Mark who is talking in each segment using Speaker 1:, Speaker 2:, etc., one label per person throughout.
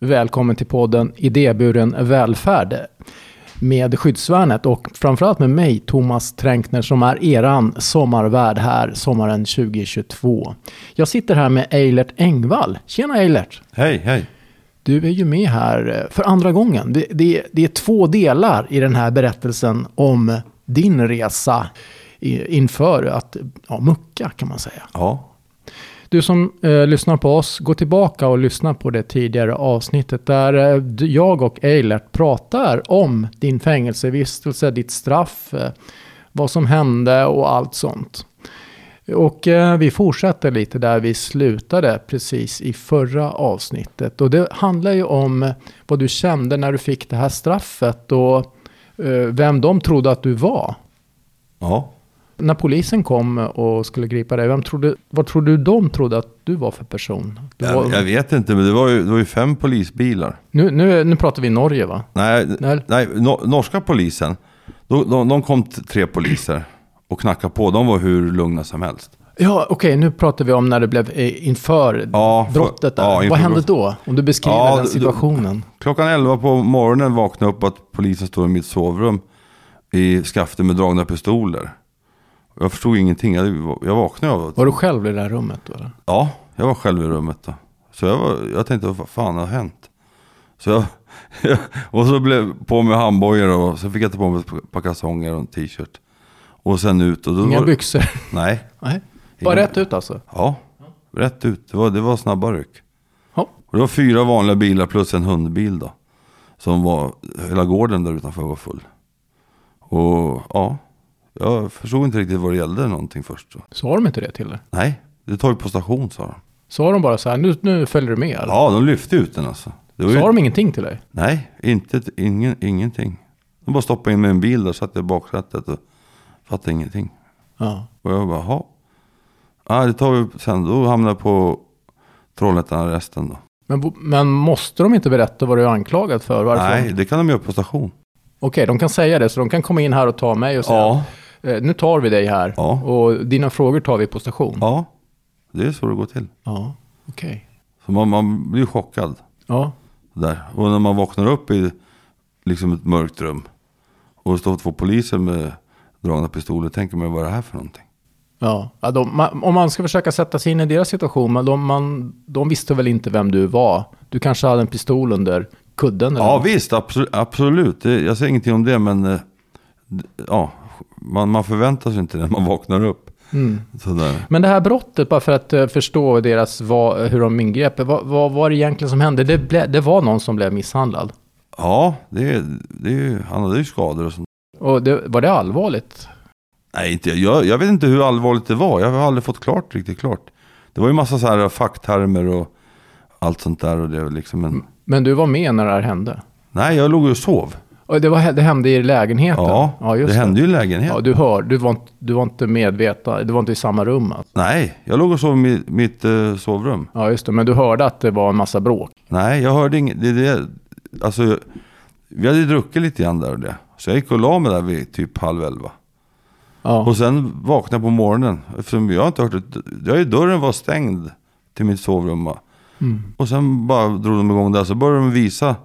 Speaker 1: Välkommen till podden Idéburen välfärd med skyddsvärnet och framförallt med mig Thomas Tränkner som är eran sommarvärd här sommaren 2022. Jag sitter här med Eilert Engvall. Tjena Eilert!
Speaker 2: Hej, hej.
Speaker 1: Du är ju med här eh, för andra gången. Det, det, det är två delar i den här berättelsen om din resa i- inför att ja, mucka kan man säga.
Speaker 2: Ja,
Speaker 1: Du som eh, lyssnar på oss, gå tillbaka och lyssna på det tidigare avsnittet där eh, du- jag och Eilert pratar om din fängelsevistelse, ditt straff, eh, vad som hände och allt sånt. Och eh, vi fortsätter lite där vi slutade precis i förra avsnittet. Och det handlar ju om vad du kände när du fick det här straffet och eh, vem de trodde att du var.
Speaker 2: ja.
Speaker 1: När polisen kom och skulle gripa dig, vem trodde, vad trodde du de trodde att du var för person? Du
Speaker 2: Jag,
Speaker 1: var,
Speaker 2: jag vet inte, men det var, ju, det var ju fem polisbilar.
Speaker 1: nu, nu, nu pratar vi Norge va?
Speaker 2: Nej,
Speaker 1: Nej.
Speaker 2: nej. no, norska polisen. De, de, de kom t- tre poliser och knackade på. De var hur lugna som helst.
Speaker 1: Ja, okej, nu pratar vi om när det blev eh, inför
Speaker 2: Ja, för-
Speaker 1: brottet. Där.
Speaker 2: ja, inför
Speaker 1: vad hände
Speaker 2: brottet.
Speaker 1: då? Om du beskriver
Speaker 2: Ja,
Speaker 1: den
Speaker 2: d- d-
Speaker 1: situationen.
Speaker 2: Klockan 11 på morgonen vaknade jag upp att polisen stod i mitt sovrum i skaftet med dragna pistoler. Jag förstod ingenting. Jag, jag vaknade av
Speaker 1: Var du själv i det här rummet då? eller?
Speaker 2: Ja, jag var själv i rummet då. Så jag, var, jag tänkte, vad fan har hänt? Så jag, och så blev på mig handbojor och så fick jag ta på mig ett par kalsonger och en t-shirt. Och sen ut och då...
Speaker 1: Inga
Speaker 2: var-
Speaker 1: byxor?
Speaker 2: Nej.
Speaker 1: Nej, bara
Speaker 2: Inga-
Speaker 1: rätt ut alltså?
Speaker 2: Ja, rätt ut. Det var, det var snabba ryck.
Speaker 1: Ja.
Speaker 2: Och det var fyra vanliga bilar plus en hundbil då. Som var, hela gården där utanför var full. Och ja, jag förstod inte riktigt vad det gällde någonting först. Så.
Speaker 1: Sa de inte det till dig?
Speaker 2: Nej, det tar ju på station sa de.
Speaker 1: Sa de bara så här, nu, nu följer du med? eller?
Speaker 2: Ja, de lyfte ut den alltså. Det var ju-
Speaker 1: Sa de ingenting till dig?
Speaker 2: Nej, inte, ett- ingen, ingenting. De bara stoppade in mig i en bil där, satt jag i baksätet och fattade ingenting.
Speaker 1: Ja.
Speaker 2: Och jag bara, jaha. Ja, det tar vi sen. Då hamnade jag på Trollhättan-arresten då.
Speaker 1: Men, bo- men måste de inte berätta vad du är anklagad för? Varför?
Speaker 2: Nej, det kan de göra på station.
Speaker 1: Okej, de kan säga det, så de kan komma in här och ta mig och säga
Speaker 2: Ja.
Speaker 1: Eh, Nu tar vi dig här
Speaker 2: Ja.
Speaker 1: och dina frågor tar vi på station.
Speaker 2: Ja, det är så det går till.
Speaker 1: Ja, okej.
Speaker 2: Så man, man blir chockad
Speaker 1: Ja.
Speaker 2: där. Och när man vaknar upp i liksom ett mörkt rum och det står två poliser med dragna pistoler, tänker man vad är det här för någonting?
Speaker 1: Ja, ja de, ma- om man ska försöka sätta sig in i deras situation, men de, man, de visste väl inte vem du var? Du kanske hade en pistol under kudden? Eller
Speaker 2: Ja
Speaker 1: något.
Speaker 2: visst, absolut. absolut. Det- Jag säger ingenting om det, men eh, d- ja, man, man förväntar sig inte det när man vaknar upp.
Speaker 1: Mm.
Speaker 2: Sådär.
Speaker 1: Men det här brottet, bara för att eh, förstå deras, vad, hur de ingrep, vad, vad var det egentligen som hände? Det, ble, det var någon som blev misshandlad.
Speaker 2: Ja, det, det, är ju- han hade ju skador och sånt.
Speaker 1: Och det, var det allvarligt?
Speaker 2: Nej, inte, jag, jag vet inte hur allvarligt det var. Jag har aldrig fått klart riktigt klart. Det var ju massa så här facktermer och allt sånt där. Och det var liksom en...
Speaker 1: Men du var med när det här hände?
Speaker 2: Nej, jag låg och sov.
Speaker 1: Och det, var, det hände i lägenheten?
Speaker 2: Ja, det hände ju i lägenheten.
Speaker 1: Ja, du hör. Du var, inte- du var inte medveten. Du var inte i samma rum. Alltså.
Speaker 2: Nej, jag låg och sov i mitt, mitt eh, sovrum.
Speaker 1: Ja, just det. Men du hörde att det var en massa bråk.
Speaker 2: Nej, jag hörde inget. Det, det, alltså, jag- vi hade ju druckit lite grann där och det. Så jag gick och la mig där vid typ halv elva.
Speaker 1: Ja,
Speaker 2: Och sen vaknade jag på morgonen. Eftersom jag inte hört ett, jag, Dörren var stängd till mitt sovrum. va. Och sen bara drog de igång där. Så började de visa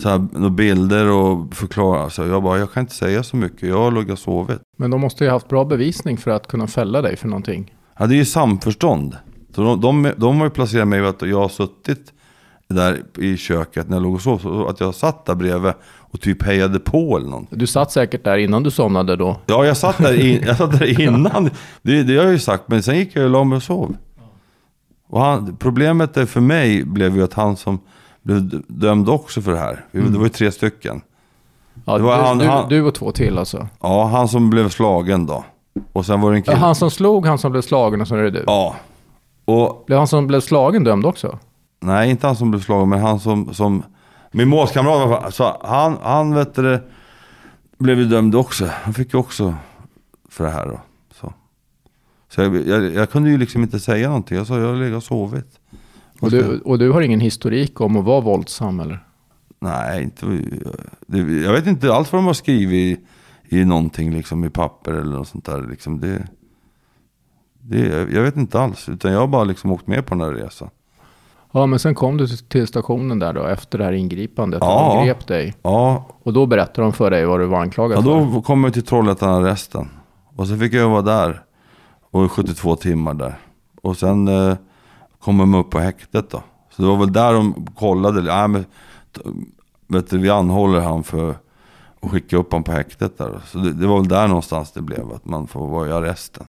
Speaker 2: så här, några bilder och förklara. Så jag bara, jag kan inte säga så mycket. Jag låg och sovit.
Speaker 1: men de måste ju ha haft bra bevisning för att kunna fälla dig för någonting.
Speaker 2: Ja, det är ju samförstånd. Så de, de, de har ju placerat mig att jag har suttit där i köket när jag låg och sov. Så att jag satt där bredvid och typ hejade på eller någonting.
Speaker 1: Du satt säkert där innan du somnade då.
Speaker 2: Ja, jag satt där, in, jag satt där innan. Det, det har jag ju sagt, men sen gick jag och la mig och sov. Och han, problemet är för mig blev ju att han som blev d- dömd också för det här. Vi- Det var ju tre stycken.
Speaker 1: Ja,
Speaker 2: Det var
Speaker 1: du,
Speaker 2: han-
Speaker 1: du,
Speaker 2: han-
Speaker 1: du och två till alltså.
Speaker 2: Ja, han som blev slagen då. Och sen var det en
Speaker 1: Ja,
Speaker 2: kille.
Speaker 1: han som slog, han som blev slagen och sen är det du.
Speaker 2: Ja. Och
Speaker 1: Blev han som blev slagen dömd också?
Speaker 2: Nej, inte han som blev slagen, men han som... som min målskamrat var så han, han vet du, det, blev ju dömd också. Han fick ju också för det här då. Så, så jag, jag, jag kunde ju liksom inte säga någonting. Jag sa, jag har legat och sovit.
Speaker 1: Och du, och du har ingen historik om att vara våldsam eller?
Speaker 2: Nej, inte... Det, jag vet inte alls vad de har skrivit i, i någonting liksom, i papper eller något sånt där. Liksom, det, det, jag vet inte alls. Utan jag har bara liksom åkt med på den här resan.
Speaker 1: Ja, men sen kom du till stationen där då efter det här ingripandet.
Speaker 2: Ja.
Speaker 1: Och de grep dig.
Speaker 2: Ja,
Speaker 1: Och då berättade de för dig vad du var anklagad
Speaker 2: ja
Speaker 1: för.
Speaker 2: då kom jag till Trollhättan-arresten. Och så fick jag vara där. Och i 72 timmar där. Och sen eh, kom de upp på häktet då. Så det var väl där de kollade. Nej, men, t- vet du, vi anhåller han för och skickar upp han på häktet där. Så det, det var väl där någonstans det blev att man får vara i arresten.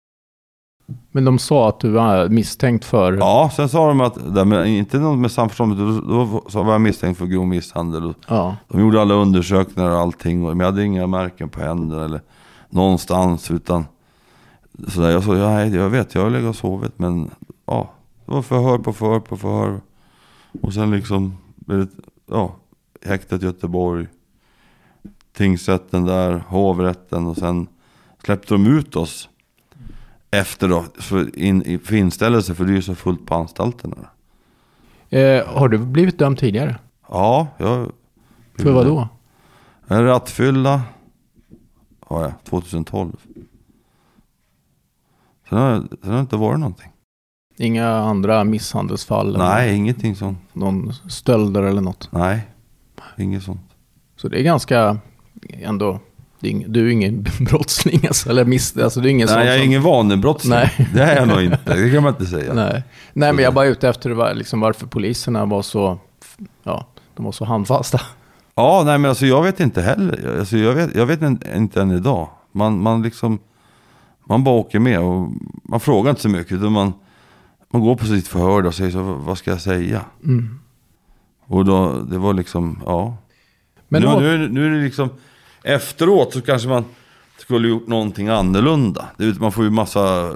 Speaker 1: Men de sa att du var misstänkt för...
Speaker 2: Ja, sen sa de att, där, men inte något med samförstånd, då, då sa- var jag misstänkt för grov misshandel. Och
Speaker 1: Ja.
Speaker 2: De gjorde alla undersökningar och allting. och- Men jag hade inga märken på händerna eller någonstans. Utan sådär. Jag sa, ja, nej, jag vet, jag har legat och sovit. Men ja, det var förhör på förhör på förhör. Och sen liksom, blev det- ja, häktet Göteborg. Tingsrätten där, hovrätten och sen släppte de ut oss. Efter då, för, in, i- för inställelse, för det är ju så fullt på anstalterna.
Speaker 1: Eh, har du blivit dömd tidigare?
Speaker 2: Ja, jag...
Speaker 1: För vad
Speaker 2: Mm.
Speaker 1: då?
Speaker 2: En rattfylla har jag, 2012. Sen har, jag- sen har det inte varit någonting.
Speaker 1: Inga andra misshandelsfall? eller
Speaker 2: Nej, ingenting sånt.
Speaker 1: Någon stölder eller något?
Speaker 2: Nej, inget sånt.
Speaker 1: Så det är ganska ändå... det är ing- Du är ingen brottsling alltså, eller miss... Alltså, det är ingen sån
Speaker 2: Nej, jag är
Speaker 1: som-
Speaker 2: ingen vanebrottsling.
Speaker 1: Nej.
Speaker 2: Det är jag nog inte. Det kan man inte säga.
Speaker 1: Nej. Nej, men jag bara är ute efter var, liksom, varför poliserna var så... Ja, de var så handfasta.
Speaker 2: Ja, nej men alltså jag vet inte heller. Alltså jag vet, jag vet inte- inte än idag. Man, man liksom, man bara åker med och man frågar inte så mycket. Utan man, man går på sitt förhör och säger så, "Vad- vad ska jag säga?
Speaker 1: Mm.
Speaker 2: Och då, det var liksom, ja.
Speaker 1: Men
Speaker 2: nu,
Speaker 1: åt-
Speaker 2: nu, är det- nu är det liksom, efteråt så kanske man skulle gjort någonting annorlunda. Det är- Man får ju massa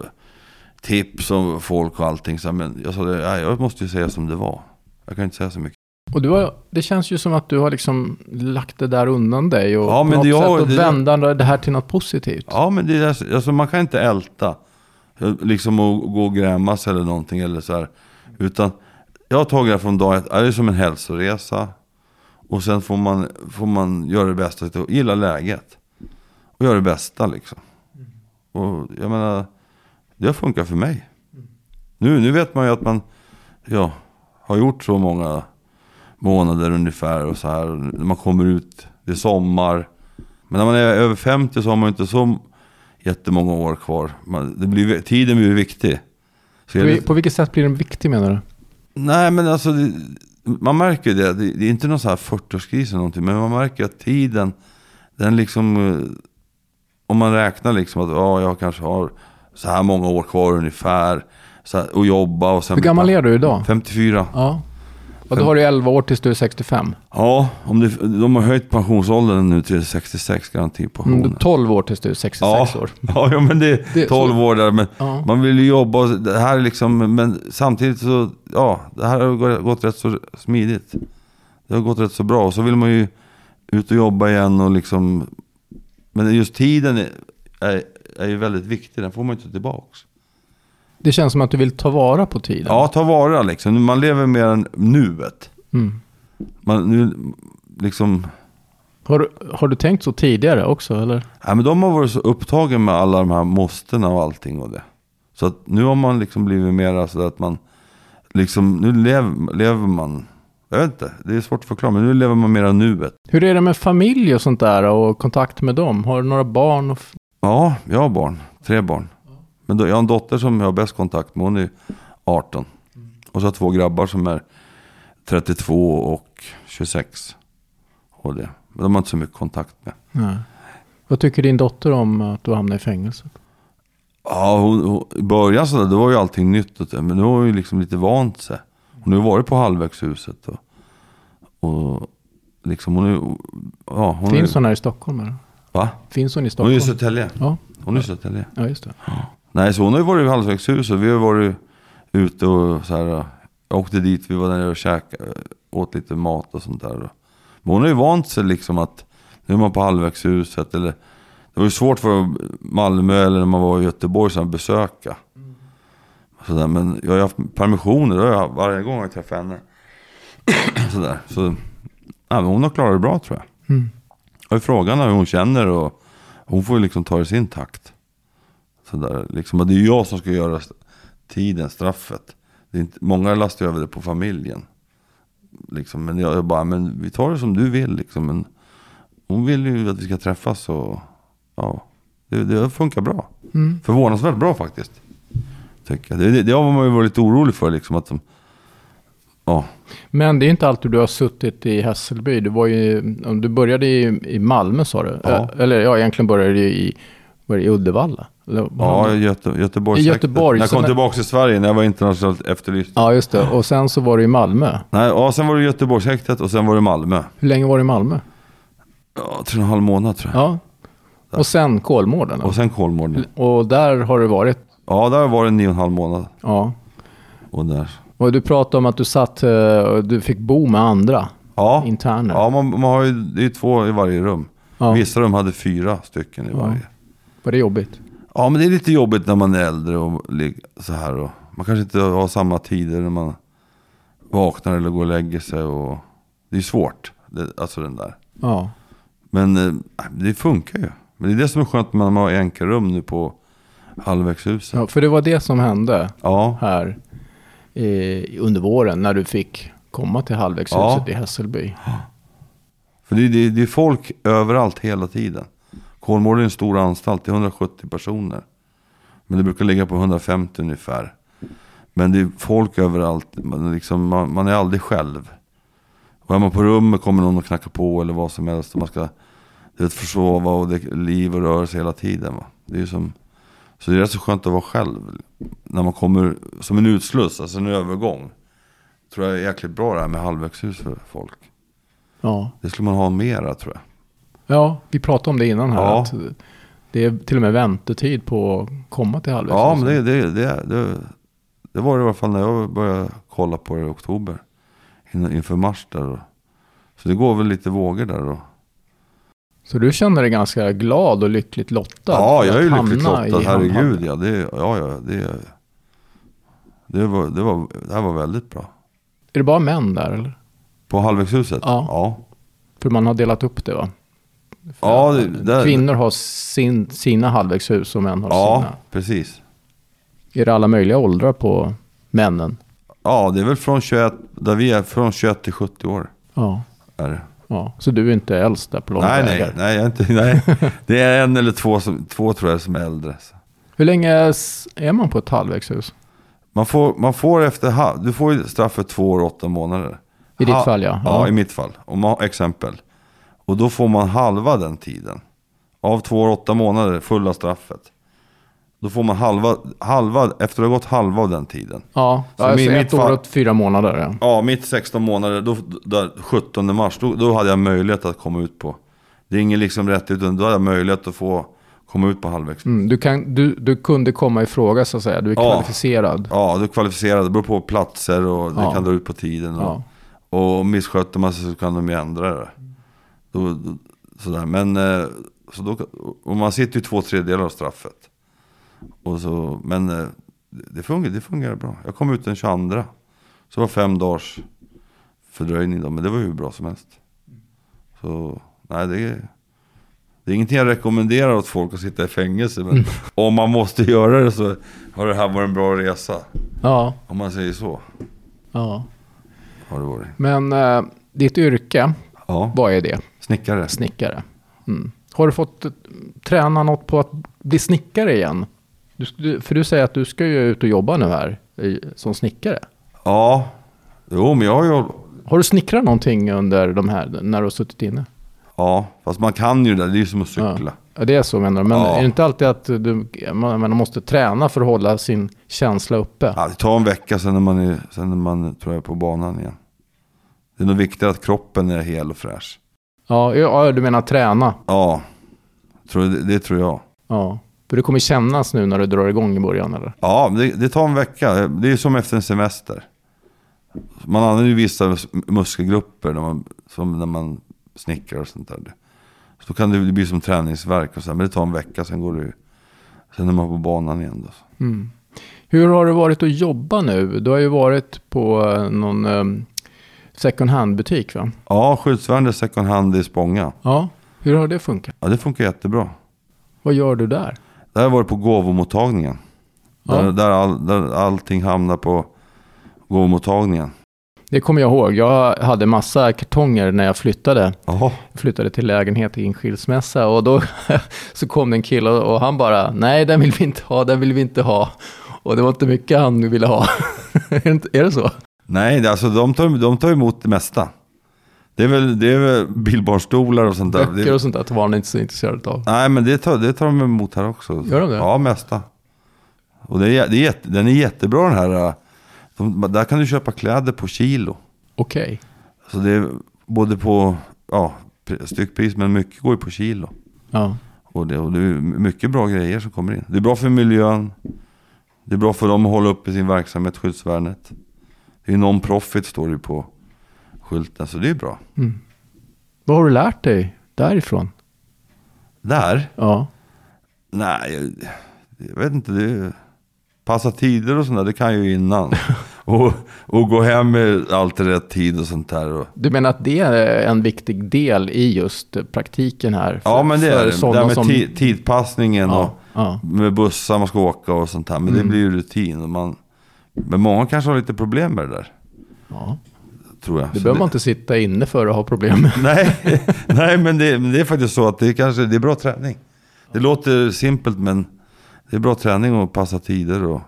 Speaker 2: tips om folk och allting. så här, Men jag sa det, "Nej, jag måste ju säga som det var. Jag kan inte säga så mycket.
Speaker 1: Och du har, det känns ju som att du har liksom lagt det där undan dig och
Speaker 2: Ja,
Speaker 1: på
Speaker 2: men
Speaker 1: något
Speaker 2: det-
Speaker 1: sätt
Speaker 2: ja,
Speaker 1: och
Speaker 2: det-
Speaker 1: vända det här till något positivt.
Speaker 2: Ja, men det är, alltså, man kan inte älta. Liksom att gå och grämas eller någonting. Eller så här. Utan jag har tagit det här från dag ett. Det är som en hälsoresa. Och sen får man, får man göra det bästa. och Gilla läget. Och göra det bästa liksom. Och jag menar, det har funkat för mig. Nu, nu vet man ju att man ja, har gjort så många månader ungefär och så här. När man kommer ut, det är sommar. Men när man är över 50 så har man ju inte så jättemånga år kvar. Man, det blir, tiden blir ju viktig. Så
Speaker 1: på,
Speaker 2: jag-
Speaker 1: vi- på vilket sätt blir den viktig menar du?
Speaker 2: Nej, men alltså det, man märker ju det. det. Det är inte någon så här 40-årskris eller någonting. Men man märker att tiden, den liksom... eh, Om man räknar liksom att ja, jag kanske har så här många år kvar ungefär. Så här, och jobba och sen...
Speaker 1: Hur gammal är du idag?
Speaker 2: 54.
Speaker 1: Ja. Och då har du 11 år tills du är 65.
Speaker 2: Ja, om det, de har höjt pensionsåldern nu till 66 garantipensionen.
Speaker 1: Mm, du är 12 år tills du är 66
Speaker 2: ja,
Speaker 1: år.
Speaker 2: Ja, ja, men det
Speaker 1: Det-
Speaker 2: är 12 år där. Men
Speaker 1: Ja.
Speaker 2: man vill ju jobba. och Det här är liksom, men samtidigt så, ja, det här har gått- gått rätt så smidigt. Det har gått rätt så bra. Och så vill man ju ut och jobba igen och liksom... Men just tiden är, är, är ju väldigt viktig. Den får man ju inte tillbaka.
Speaker 1: Det känns som att du vill ta vara på tiden.
Speaker 2: Ja, ta vara liksom. Man lever mer än nuet.
Speaker 1: Mm.
Speaker 2: Man, nu, liksom...
Speaker 1: Har, du- har du tänkt så tidigare också eller?
Speaker 2: Nej, men de har varit så upptagna med alla de här måstena och allting och det. Så att nu har man liksom blivit mer så att man, liksom, nu lev, lever man, jag vet inte, det är svårt att förklara, men nu lever man mera nuet.
Speaker 1: Hur är det med familj och sånt där och kontakt med dem? Har du några barn? Och f-
Speaker 2: Ja, jag har barn, tre barn. Men då, jag har en dotter som jag har bäst kontakt med, hon är 18. Och så har jag två grabbar som är 32 och 26. Och det. Men de har inte så mycket kontakt med.
Speaker 1: Nej. Vad tycker din dotter om att du hamnar i fängelse?
Speaker 2: Ja, hon, hon, i början så där, då var ju allting nytt. Och det, men nu har hon ju liksom lite vant sig. Hon har ju varit på halvvägshuset. Och, och liksom hon är ja, hon är,
Speaker 1: Finns hon här i Stockholm eller?
Speaker 2: Va?
Speaker 1: Finns hon i
Speaker 2: Hon är
Speaker 1: Stockholm?
Speaker 2: ju i Södertälje.
Speaker 1: Ja,
Speaker 2: Hon är i Södertälje.
Speaker 1: ja just det.
Speaker 2: Nej, så hon har ju varit i halvvägshuset. Vi har ju varit ute och så här. Jag åkte dit, vi var där nere och käkade. Åt lite mat och sånt där. Men hon har ju vant sig liksom att nu är man på halvvägshuset. Eller, det var ju svårt för Malmö eller när man var i Göteborg så här, att besöka. Så där, men jag har ju haft permissioner. Det har jag varje gång jag träffar henne. så där. Så, nej, men hon har klarat det bra tror jag.
Speaker 1: Mm.
Speaker 2: Och frågan är hur hon känner och hon får ju liksom ta det i sin takt. Så där, liksom, och det är jag som ska göra st- tiden, straffet. Det är inte, många lastar över det på familjen. Liksom, men jag, jag bara, men vi tar det som du vill liksom. Men hon vill ju att vi ska träffas och ja, det, det funkar bra.
Speaker 1: Mm.
Speaker 2: Förvånansvärt bra faktiskt. Tycker jag. Det, det, det har man ju varit lite orolig för liksom. Att de, ja,
Speaker 1: Men det är inte alltid du har suttit i Hässelby. Du, var ju, du började i, i Malmö sa du.
Speaker 2: Ja.
Speaker 1: Eh, Eller ja, egentligen började du i, var det i Uddevalla. Eller,
Speaker 2: ja Göte, Göteborg,
Speaker 1: I
Speaker 2: säkert.
Speaker 1: Göteborg,
Speaker 2: När jag
Speaker 1: så
Speaker 2: kom
Speaker 1: när-
Speaker 2: tillbaka till Sverige, när jag var internationellt efterlyst.
Speaker 1: ja, just det. Och sen så var du i Malmö.
Speaker 2: Nej, ja, sen var det Göteborgshäktet och sen var det Malmö.
Speaker 1: Hur länge var du i Malmö?
Speaker 2: Ja, tre och en halv månad tror jag.
Speaker 1: Ja. Och sen Kolmården. då?
Speaker 2: Och sen Kolmården.
Speaker 1: Och där har du varit.
Speaker 2: Ja, där var det nio och en halv månad.
Speaker 1: Ja.
Speaker 2: Och där.
Speaker 1: Och du pratade om att du satt eh, och du fick bo med andra
Speaker 2: Ja,
Speaker 1: interner.
Speaker 2: ja man, man har ju, det är ju två i varje rum.
Speaker 1: Ja.
Speaker 2: Vissa rum hade fyra stycken i varje.
Speaker 1: Var det jobbigt?
Speaker 2: Ja, men det är lite jobbigt när man är äldre och lig- så här. Och man kanske inte har samma tider när man vaknar eller går och lägger sig. Och det är svårt, det, alltså den där.
Speaker 1: Ja.
Speaker 2: Men eh, det funkar ju. Men det är det som är skönt när man har enkelrum nu på halvvägshuset.
Speaker 1: ja. För det var det som hände
Speaker 2: Ja,
Speaker 1: här eh, under våren när du fick komma till halvvägshuset
Speaker 2: Ja.
Speaker 1: i Hässelby.
Speaker 2: för det, det, det är folk överallt hela tiden. Kolmården är en stor anstalt, det är 170 personer. Men det brukar ligga på 150 ungefär. Men det är folk överallt, man, är liksom, man, man är aldrig själv. Och är man på rummet kommer någon och knackar på eller vad som helst. Och man ska du vet, försova och det är liv och rörelse hela tiden. Va? Det är ju som, så det är rätt så skönt att vara själv. När man kommer som en utsluss, alltså en övergång. Tror jag är jäkligt bra det här med halvvägshus för folk.
Speaker 1: Ja.
Speaker 2: Det skulle man ha mera tror jag.
Speaker 1: ja, vi pratade om det innan här.
Speaker 2: Ja.
Speaker 1: Att det är till och med väntetid på att komma till halvvägshuset.
Speaker 2: Ja, men det, det, det, det, det var det i alla fall när jag började kolla på det i oktober. In, inför mars där. Och, så det går väl lite vågor där. Och,
Speaker 1: Så du känner dig ganska glad och lyckligt lottad?
Speaker 2: ja,
Speaker 1: för
Speaker 2: jag är
Speaker 1: att
Speaker 2: ju
Speaker 1: hamna
Speaker 2: lyckligt lottad.
Speaker 1: i Hamnhamn.
Speaker 2: Herregud, ja. Det, ja, ja det, det, var, det, var, det här var väldigt bra.
Speaker 1: Är det bara män där eller?
Speaker 2: På halvvägshuset?
Speaker 1: Ja.
Speaker 2: Ja,
Speaker 1: För man har delat upp det va? För
Speaker 2: Ja,
Speaker 1: att,
Speaker 2: det-
Speaker 1: eh,
Speaker 2: där-
Speaker 1: Kvinnor har sin, sina halvvägshus och män har
Speaker 2: ja
Speaker 1: sina.
Speaker 2: precis.
Speaker 1: Är det alla möjliga åldrar på männen?
Speaker 2: Ja, det är väl från 21, där vi är, från 21 till 70 år.
Speaker 1: Ja.
Speaker 2: Är det.
Speaker 1: ja. Så du är inte äldst där på långa
Speaker 2: Nej,
Speaker 1: vägar?
Speaker 2: nej, nej, jag är inte, nej. Det är en eller två, som, två tror jag som är äldre. Så.
Speaker 1: Hur länge s- är man på ett halvvägshus?
Speaker 2: Man får, man får efter, ha- du får ju straff för två år och åtta månader.
Speaker 1: I ditt fall, ja.
Speaker 2: Ja,
Speaker 1: Ja.
Speaker 2: i mitt fall. Om man, exempel. Och då får man halva den tiden. Av två år och åtta månader, fulla straffet. Då får man halva, halva efter att ha gått halva av den tiden.
Speaker 1: Ja,
Speaker 2: Så
Speaker 1: alltså
Speaker 2: min-
Speaker 1: ett
Speaker 2: mitt
Speaker 1: år
Speaker 2: fall-
Speaker 1: och fyra månader. Ja.
Speaker 2: Ja, mitt 16 månader, då, där, 17 mars, då, då hade jag möjlighet att komma ut på. Det är ingen liksom rätt, utan då hade jag möjlighet att få komma ut på halvvägs.
Speaker 1: Mm, du, kan, du, du kunde komma i fråga så att säga. Du är
Speaker 2: Ja.
Speaker 1: kvalificerad.
Speaker 2: Ja, du är kvalificerad, det beror på platser och
Speaker 1: Ja.
Speaker 2: det kan dra ut på tiden. Och,
Speaker 1: Ja.
Speaker 2: Och missköter man sig så kan de ju ändra det. Då, då, sådär. Men eh, så då, och man sitter ju två tredjedelar av straffet. Och så, men eh, det, fungerar, det fungerar bra. Jag kom ut den 22. Så det var fem dagars fördröjning då. Men det var ju hur bra som helst. Så nej, det är, det är ingenting jag rekommenderar åt folk att sitta i fängelse. Men om man måste göra det så har det här varit en bra resa.
Speaker 1: Ja.
Speaker 2: Om man säger så.
Speaker 1: ja.
Speaker 2: Har det varit.
Speaker 1: Men eh, ditt yrke,
Speaker 2: Ja,
Speaker 1: vad är det?
Speaker 2: snickare.
Speaker 1: Snickare. Mm. Har du fått eh, träna något på att bli snickare igen? Du, sk- du, för du säger att du ska ju ut och jobba nu här i, som snickare.
Speaker 2: Ja, jo men jag har ju...
Speaker 1: Har du snickrat någonting under de här, när du har suttit inne?
Speaker 2: Ja, fast man kan ju det där. Det är ju som att cykla.
Speaker 1: Ja, det är så menar du. Men
Speaker 2: Ja.
Speaker 1: är det inte alltid att du, man, man måste träna för att hålla sin känsla uppe?
Speaker 2: Ja. det tar en vecka sen när man är, sen när man, tror jag, är på banan igen. Det är nog viktigare att kroppen är hel och fräsch.
Speaker 1: Ja, ja du menar träna.
Speaker 2: Ja, tror, det, det tror jag.
Speaker 1: Ja. För det kommer kännas nu när du drar igång i början eller?
Speaker 2: Ja, men det, det tar en vecka. Det är ju som efter en semester. Man använder ju vissa mus- muskelgrupper när man, som när man snickrar och sånt där. Så kan det, det bli som träningsverk och så här, men det tar en vecka, sen går det ju... Sen är man på banan igen då.
Speaker 1: Mm. Hur har det varit att jobba nu? Du har ju varit på eh, någon um, second hand-butik va?
Speaker 2: Ja, skyddsvärnet second hand i Spånga.
Speaker 1: Ja. Hur har det funkat?
Speaker 2: Ja, det funkar jättebra.
Speaker 1: Vad gör du där?
Speaker 2: Där var det på gåvomottagningen.
Speaker 1: Ja.
Speaker 2: Där, där, all, där allting hamnar på gåvomottagningen.
Speaker 1: Det kommer jag ihåg. Jag hade massa kartonger när jag flyttade.
Speaker 2: Jaha,
Speaker 1: Jag flyttade till lägenhet i en skilsmässa och då så kom det en kille och han bara nej den vill vi inte ha, den vill vi inte ha. Och det var inte mycket han ville ha. är, det, inte- är det så?
Speaker 2: nej det- alltså de tar, de tar emot det mesta. Det är väl, det är väl bilbarnstolar och sånt där.
Speaker 1: Böcker
Speaker 2: Det,
Speaker 1: och sånt där var han inte så intresserad av.
Speaker 2: nej men det tar, det tar de emot här också.
Speaker 1: Gör de det?
Speaker 2: Ja, mesta. Och det är, det är, jätte- den är jättebra den här. äh, De, där kan du köpa kläder på kilo.
Speaker 1: Okej.
Speaker 2: Så det är både på ja, pr- styckpris men mycket går ju på kilo.
Speaker 1: Ja.
Speaker 2: Och det, och det är mycket bra grejer som kommer in. Det är bra för miljön. Det är bra för dem att hålla uppe sin verksamhet, skyddsvärnet. Det är non-profit står det ju på skylten, så det är bra.
Speaker 1: Mm. Vad har du lärt dig därifrån?
Speaker 2: Där?
Speaker 1: Ja.
Speaker 2: Nej, jag, jag vet inte. Det är, passa tider och sånt där, det kan jag ju innan. och, och gå hem med allt i rätt tid och sånt där. Och,
Speaker 1: Du menar att det är en viktig del i just praktiken här? För,
Speaker 2: ja, men det är
Speaker 1: för
Speaker 2: det. Det
Speaker 1: sådana
Speaker 2: där med
Speaker 1: som-
Speaker 2: ti, tidpassningen och...
Speaker 1: Ja, Mm. ja.
Speaker 2: med bussar man ska åka och sånt här. Men det blir ju rutin. Och man, men många kanske har lite problem med det där,
Speaker 1: ja.
Speaker 2: tror jag.
Speaker 1: Det
Speaker 2: Så
Speaker 1: behöver man inte sitta inne för att ha problem med.
Speaker 2: Nej, nej men, det, men det är faktiskt så att det, kanske, det är bra träning. Det låter simpelt, men det är bra träning att passa tider och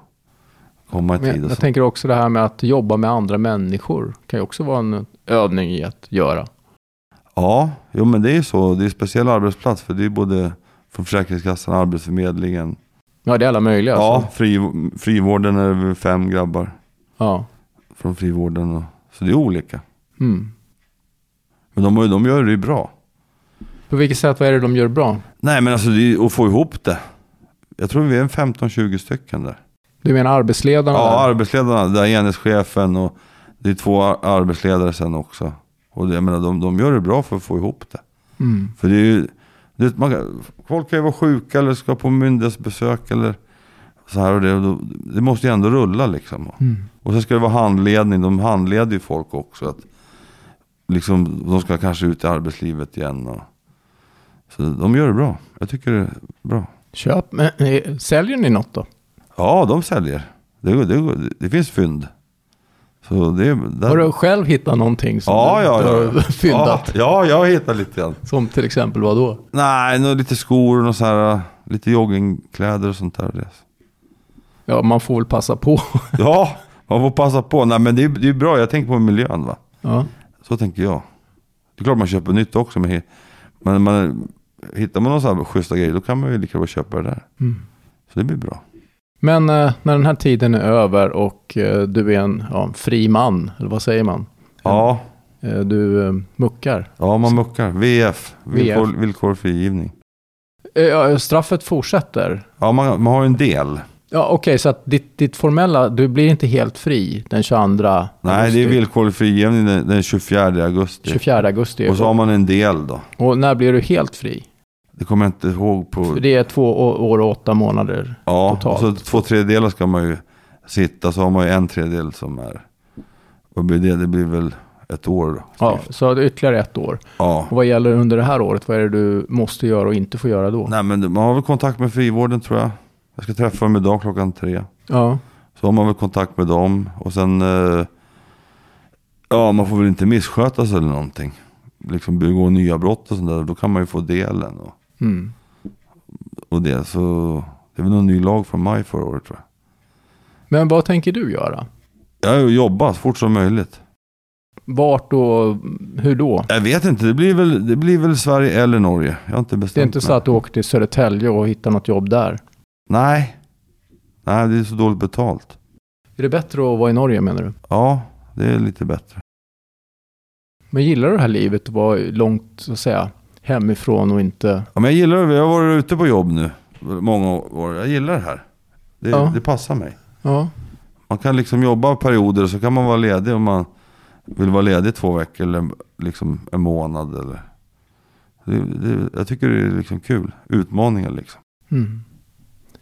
Speaker 2: komma i
Speaker 1: Men
Speaker 2: tid.
Speaker 1: jag,
Speaker 2: Och
Speaker 1: jag
Speaker 2: sånt.
Speaker 1: tänker också det här med att jobba med andra människor. kan ju också vara en övning i att göra.
Speaker 2: Ja, jo, men det är ju så. Det är en speciell arbetsplats, för det är både från Försäkringskassan, Arbetsförmedlingen.
Speaker 1: Ja, det är alla möjliga.
Speaker 2: Ja,
Speaker 1: alltså.
Speaker 2: fri, frivården är väl fem grabbar
Speaker 1: ja.
Speaker 2: från frivården. Och, så det är olika.
Speaker 1: Mm.
Speaker 2: Men de, har ju- de gör det ju bra.
Speaker 1: På vilket sätt, vad är det de gör bra?
Speaker 2: Nej men alltså det är att få ihop det. Jag tror vi är en 15-20 stycken där.
Speaker 1: Du menar arbetsledarna?
Speaker 2: Ja,
Speaker 1: där?
Speaker 2: arbetsledarna, där är enhetschefen och det är två ar- arbetsledare sen också. Och det, jag menar, de, de gör det bra för att få ihop det.
Speaker 1: Mm.
Speaker 2: För det är ju, det, är- man, kan- folk kan ju vara sjuka eller ska på myndighetsbesök eller så här och det. Och då, det måste ju ändå rulla liksom.
Speaker 1: Mm.
Speaker 2: Och sen ska det vara handledning, de handleder ju folk också. Att, liksom, de ska kanske ut i arbetslivet igen. Och, så de gör det bra. Jag tycker det är bra.
Speaker 1: Köp, men, eh, säljer ni något då?
Speaker 2: Ja, de säljer. Det, det, det finns fynd. Så det, där...
Speaker 1: Har du själv hittat någonting som
Speaker 2: ja,
Speaker 1: du,
Speaker 2: ja,
Speaker 1: du
Speaker 2: ja.
Speaker 1: har fyndat?
Speaker 2: Ja, ja, jag hittar lite grann.
Speaker 1: Som till exempel vad då?
Speaker 2: Nej, nå- lite skor och så här, lite joggingkläder och sånt där.
Speaker 1: Ja, man får väl passa på.
Speaker 2: Ja, man får passa på. Nej, men det är, det är bra. Jag tänker på miljön va.
Speaker 1: ja.
Speaker 2: Så tänker jag. Det är klart man köper nytt också. Men, he- men man, hittar man någon så här schyssta grejer då kan man ju lika bra köpa det där.
Speaker 1: Mm.
Speaker 2: Så det blir bra.
Speaker 1: Men eh, när den här tiden är över och eh, du är en ja, en fri man, eller vad säger man?
Speaker 2: Ja,
Speaker 1: Eh, du eh, muckar.
Speaker 2: ja man muckar. VF, villkor, villkor frigivning.
Speaker 1: Eh, ja, straffet fortsätter.
Speaker 2: Ja, man, man har ju en del.
Speaker 1: Ja, okej, så att ditt, ditt formella, du blir inte helt fri den 22
Speaker 2: Nej, det
Speaker 1: augusti,
Speaker 2: är villkorlig frigivning den, den 24 augusti.
Speaker 1: 24 augusti.
Speaker 2: Och
Speaker 1: Och,
Speaker 2: så har man en del då.
Speaker 1: när blir du helt fri?
Speaker 2: Det kommer jag inte ihåg på...
Speaker 1: För det är två å- år och åtta månader.
Speaker 2: Ja,
Speaker 1: totalt.
Speaker 2: så två tredjedelar ska man ju sitta. Så har man ju en tredjedel som är... Vad blir det? Det blir väl ett år då.
Speaker 1: Ja, så det är ytterligare ett år.
Speaker 2: ja.
Speaker 1: Och vad gäller under det här året? Vad är det du måste göra och inte får göra då?
Speaker 2: Nej, men man har väl kontakt med frivården tror jag. Jag ska träffa dem idag klockan tre.
Speaker 1: Ja,
Speaker 2: Så har man väl kontakt med dem. Och sen... Eh, ja, man får väl inte missköta sig eller någonting. Liksom begå nya brott och sånt där. Då kan man ju få delen. Och,
Speaker 1: mm.
Speaker 2: och det. Så det är väl någon ny lag från maj förra året tror jag.
Speaker 1: Men vad tänker du göra?
Speaker 2: Jag har ju jobbat så fort som möjligt.
Speaker 1: Vart och hur då?
Speaker 2: Jag vet inte, det blir väl, det blir väl Sverige eller Norge. Jag har inte bestämt
Speaker 1: Det är inte så
Speaker 2: mig.
Speaker 1: att du åker till Södertälje och hittar något jobb där.
Speaker 2: Nej. Nej, det är så dåligt betalt.
Speaker 1: Är det bättre att vara i Norge menar du?
Speaker 2: Ja, det är lite bättre.
Speaker 1: Men gillar du det här livet att vara långt så att säga, hemifrån och inte...
Speaker 2: Ja, men jag gillar det. Jag har varit ute på jobb nu. Många år. Jag gillar det här. Det,
Speaker 1: Ja.
Speaker 2: det passar mig.
Speaker 1: Ja.
Speaker 2: Man kan liksom jobba perioder så kan man vara ledig om man vill vara ledig två veckor eller liksom en månad. Eller. Det, det, jag tycker det är liksom kul. Utmaningar liksom.
Speaker 1: Mm.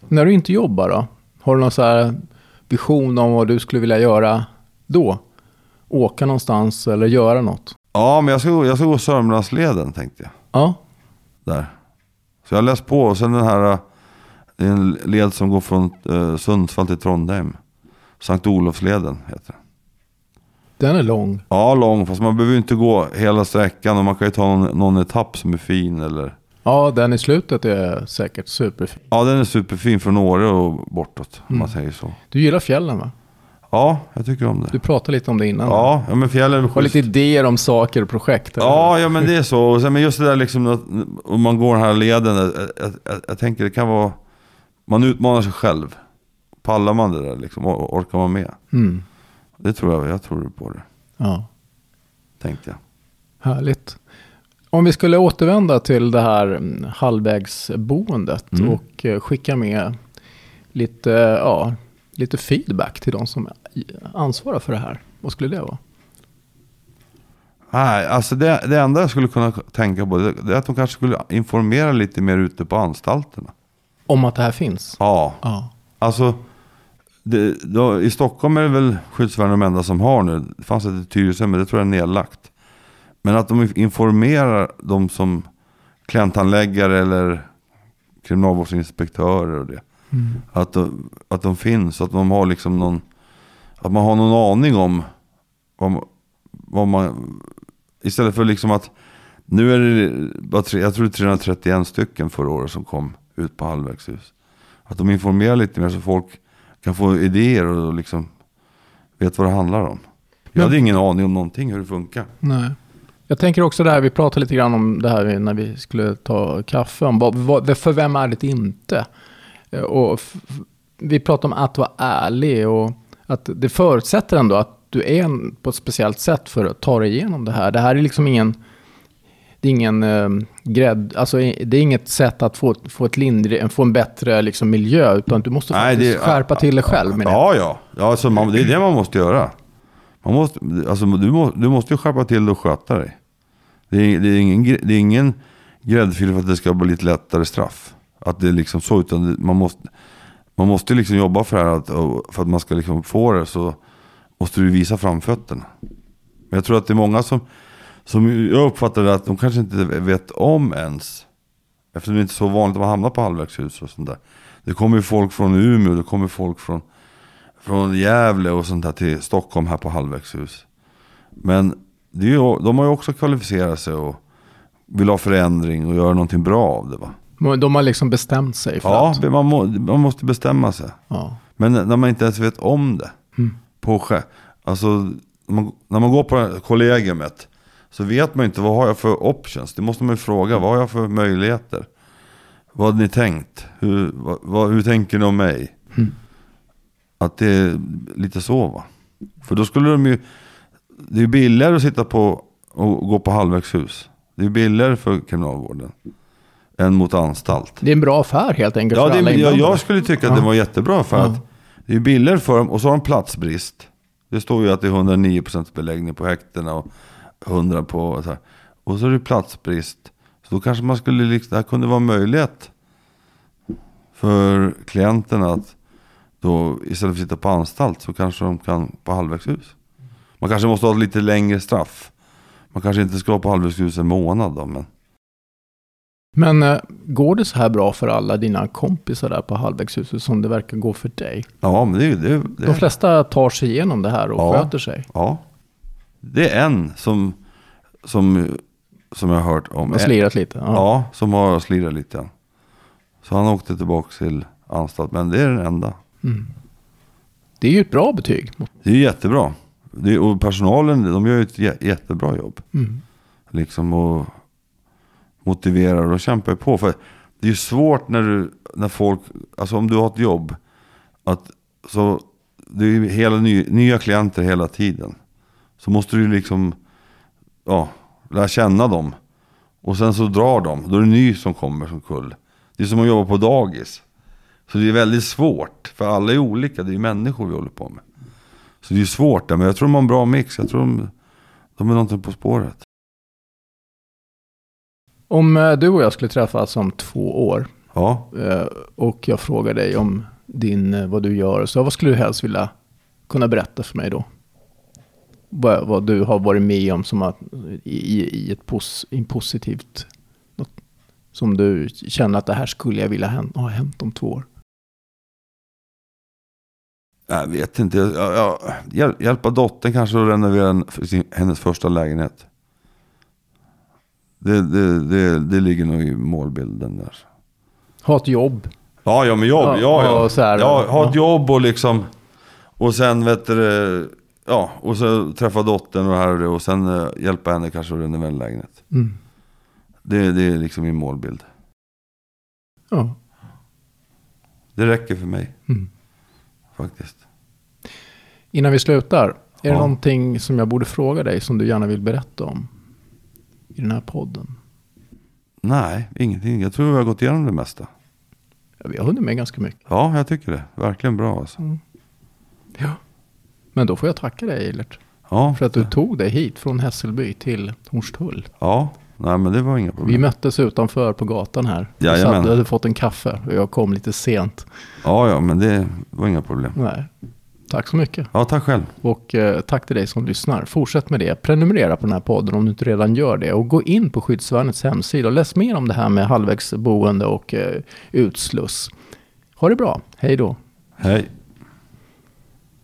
Speaker 1: När du inte jobbar då? Har du någon så här vision om vad du skulle vilja göra då? Åka någonstans eller göra något?
Speaker 2: Ja, men jag ska, gå- jag ska gå Sörmlandsleden tänkte jag.
Speaker 1: Ja.
Speaker 2: där. Så jag har läst på och sen den här, eh, det är en led som går från eh, Sundsvall till Trondheim. Sankt Olofsleden heter den.
Speaker 1: Den är lång.
Speaker 2: Ja, lång. Fast man behöver ju inte gå hela sträckan och man kan ju ta någon, någon etapp som är fin eller...
Speaker 1: Ja, den i slutet är säkert superfin.
Speaker 2: Ja, den är superfin från Åre och bortåt, om
Speaker 1: Mm.
Speaker 2: man säger så.
Speaker 1: Du gillar fjällen va?
Speaker 2: Ja, jag tycker om det.
Speaker 1: Du pratade lite om det innan.
Speaker 2: Ja, ja men fjällen är
Speaker 1: Du har
Speaker 2: schysst.
Speaker 1: lite idéer om saker och projekt. eller?
Speaker 2: Ja, ja men det är så. Och sen, men just det där liksom, att om man går den här leden, jag, jag, jag, jag tänker det kan vara... Man utmanar sig själv. Pallar man det där liksom? or- Orkar man med?
Speaker 1: Mm.
Speaker 2: Det tror jag, jag tror på det.
Speaker 1: ja.
Speaker 2: Tänkte jag.
Speaker 1: Härligt. Om vi skulle återvända till det här mm, halvvägsboendet
Speaker 2: Mm.
Speaker 1: och eh, skicka med lite, ja, lite feedback till de som eh, ansvarar för det här. Vad skulle det vara?
Speaker 2: Nej, alltså det, det enda jag skulle kunna tänka på det, det är att de kanske skulle informera lite mer ute på anstalterna.
Speaker 1: Om att det här finns?
Speaker 2: Ja,
Speaker 1: Ja.
Speaker 2: alltså det, då, i Stockholm är det väl skyddsvärden de enda som har nu. Det fanns ett i Tyresö, men det tror jag är nedlagt. Men att de informerar de som klientanläggare eller kriminalvårdsinspektörer och det.
Speaker 1: Mm.
Speaker 2: Att de, att de finns, att de har liksom någon, att man har någon aning om vad man, vad man istället för liksom att nu är det, bara tre- jag tror det är 331 stycken förra året som kom ut på halvvägshus. Att de informerar lite mer så folk kan få idéer och liksom vet vad det handlar om. Jag
Speaker 1: Men-
Speaker 2: hade ingen aning om någonting hur det funkar.
Speaker 1: Nej. Jag tänker också det här, vi pratade lite grann om det här när vi skulle ta kaffe, om vad, vad, för vem är det inte? Eh, Och f- f- vi pratade om att vara ärlig och att det förutsätter ändå att du är en, på ett speciellt sätt för att ta dig igenom det här. Det här är liksom ingen, det är ingen eh, grädd, alltså i- det är inget sätt att få, få, ett lindri, få en bättre liksom, miljö, utan du måste
Speaker 2: Nej,
Speaker 1: faktiskt
Speaker 2: det-
Speaker 1: skärpa till dig själv med det.
Speaker 2: Ja, ja. ja alltså man, det är det man måste göra. Man måste, alltså, du, må, du måste ju skärpa till och sköta dig. Det är, det är ingen, gr- det är ingen gräddfil för att det ska bli lite lättare straff. Att det är liksom så, utan det, man måste, man måste liksom jobba för det här. Att, och för att man ska liksom få det så måste du visa framfötterna. Men jag tror att det är många som, som jag uppfattar det att de kanske inte vet om ens. Eftersom det inte är så vanligt att man hamnar på halvvägshus och sånt där. Det kommer ju folk från Umeå, det kommer folk från, från Gävle och sånt där till Stockholm här på halvvägshus. Men det är ju, de har ju också kvalificerat sig och vill ha förändring och göra någonting bra av det va?
Speaker 1: Men De har liksom bestämt sig för
Speaker 2: Ja,
Speaker 1: att...
Speaker 2: men man, må, man måste bestämma sig.
Speaker 1: Ja.
Speaker 2: Men när man inte ens vet om det. På skä- alltså, när man, när man går på det här kollegiumet så vet man ju inte vad har jag för options. Det måste man ju fråga. Vad har jag för möjligheter? Vad hade ni tänkt? Hur, vad, vad, hur tänker ni om mig? Att det är lite så va. För då skulle de ju... Det är ju billigare att sitta på och gå på halvvägshus. Det är ju billigare för kriminalvården. Än mot anstalt.
Speaker 1: Det är en bra affär helt enkelt
Speaker 2: Ja,
Speaker 1: för
Speaker 2: det,
Speaker 1: alla
Speaker 2: men jag,
Speaker 1: inblandade.
Speaker 2: jag skulle tycka att det var jättebra för att det är billigare för dem och så har de platsbrist. Det står ju att det är 109% beläggning på häktena och 100 på och så här. Och så är det platsbrist. Så då kanske man skulle, liksom, det här kunde vara en möjlighet för klienterna att då istället för att sitta på anstalt så kanske de kan på halvvägshus. Man kanske måste ha ett lite längre straff. Man kanske inte ska vara på halvvägshus en månad då, men
Speaker 1: Men eh, går det så här bra för alla dina kompisar där på halvvägshuset som det verkar gå för dig?
Speaker 2: ja, men det är ju... det- det-
Speaker 1: De flesta tar sig igenom det här och
Speaker 2: Ja.
Speaker 1: sköter sig.
Speaker 2: Ja. Det är en som, som, som jag har hört om.
Speaker 1: Har slirat lite. Ja.
Speaker 2: Ja, som har slirat lite. grann. Så han åkte tillbaka till anstalt, men det är den enda.
Speaker 1: Mm. Det är ju ett bra betyg.
Speaker 2: Det är jättebra. Det, och personalen, de gör ju ett jä- jättebra jobb.
Speaker 1: Mm.
Speaker 2: Liksom och motiverar och kämpar på. För det är ju svårt när, du, när folk, alltså om du har ett jobb, att så, det är ju hela ny, nya klienter hela tiden. Så måste du liksom, ja, lära känna dem. Och sen så drar de, då är det ny som kommer som kull. Det är som att jobba på dagis. Så det är väldigt svårt, för alla är olika, det är ju människor vi håller på med. Så det är svårt där, men jag tror de har en bra mix. Jag tror de, de är någonting på spåret.
Speaker 1: Om eh, du och jag skulle träffas om två år
Speaker 2: Ja,
Speaker 1: eh, och jag frågar dig om din, eh, vad du gör, så vad skulle du helst vilja kunna berätta för mig då? Vad, vad du har varit med om som att, i, i- i ett pos, i en positivt, något, som du känner att det här skulle jag vilja hän- ha hänt om två år.
Speaker 2: Jag vet inte. Jag, jag, jag, hjäl- hjälpa dottern kanske att renovera en, för sin, hennes första lägenhet. Det, det, det, det ligger nog i målbilden där.
Speaker 1: Ha ett jobb.
Speaker 2: Ja, ja, men jobb. Ja, ja.
Speaker 1: Ja, och så här.
Speaker 2: ja ha ett
Speaker 1: Ja.
Speaker 2: jobb och liksom... Och sen vet du det, Ja, och så träffa dottern och det här och det. Och sen eh, hjälpa henne kanske att renovera en lägenhet.
Speaker 1: Mm.
Speaker 2: Det, det är liksom min målbild.
Speaker 1: Ja.
Speaker 2: Det räcker för mig
Speaker 1: Mm.
Speaker 2: faktiskt.
Speaker 1: Innan vi slutar, är det
Speaker 2: Ja.
Speaker 1: någonting som jag borde fråga dig som du gärna vill berätta om i den här podden?
Speaker 2: Nej, ingenting. Jag tror vi har gått igenom det mesta.
Speaker 1: Ja, vi har hunnit med ganska mycket.
Speaker 2: Ja, jag tycker det. Verkligen bra alltså.
Speaker 1: Ja. Men då får jag tacka dig Eilert
Speaker 2: Ja,
Speaker 1: för att du tog dig hit från Hässelby till Hornstull.
Speaker 2: ja. Nej, men det var inga
Speaker 1: Vi
Speaker 2: problem.
Speaker 1: möttes utanför på gatan här. Du
Speaker 2: Mm. Jajamän.
Speaker 1: satt- Du hade fått en kaffe och jag kom lite sent.
Speaker 2: Ja, ja, men det var inga problem.
Speaker 1: Nej. Tack så mycket.
Speaker 2: Ja, tack själv.
Speaker 1: Och eh, tack till dig som lyssnar. Fortsätt med det. Prenumerera på den här podden om du inte redan gör det. Och gå in på skyddsvärnets hemsida och läs mer om det här med halvvägsboende och eh, utsluss. Ha det bra. Hej då.
Speaker 2: Hej.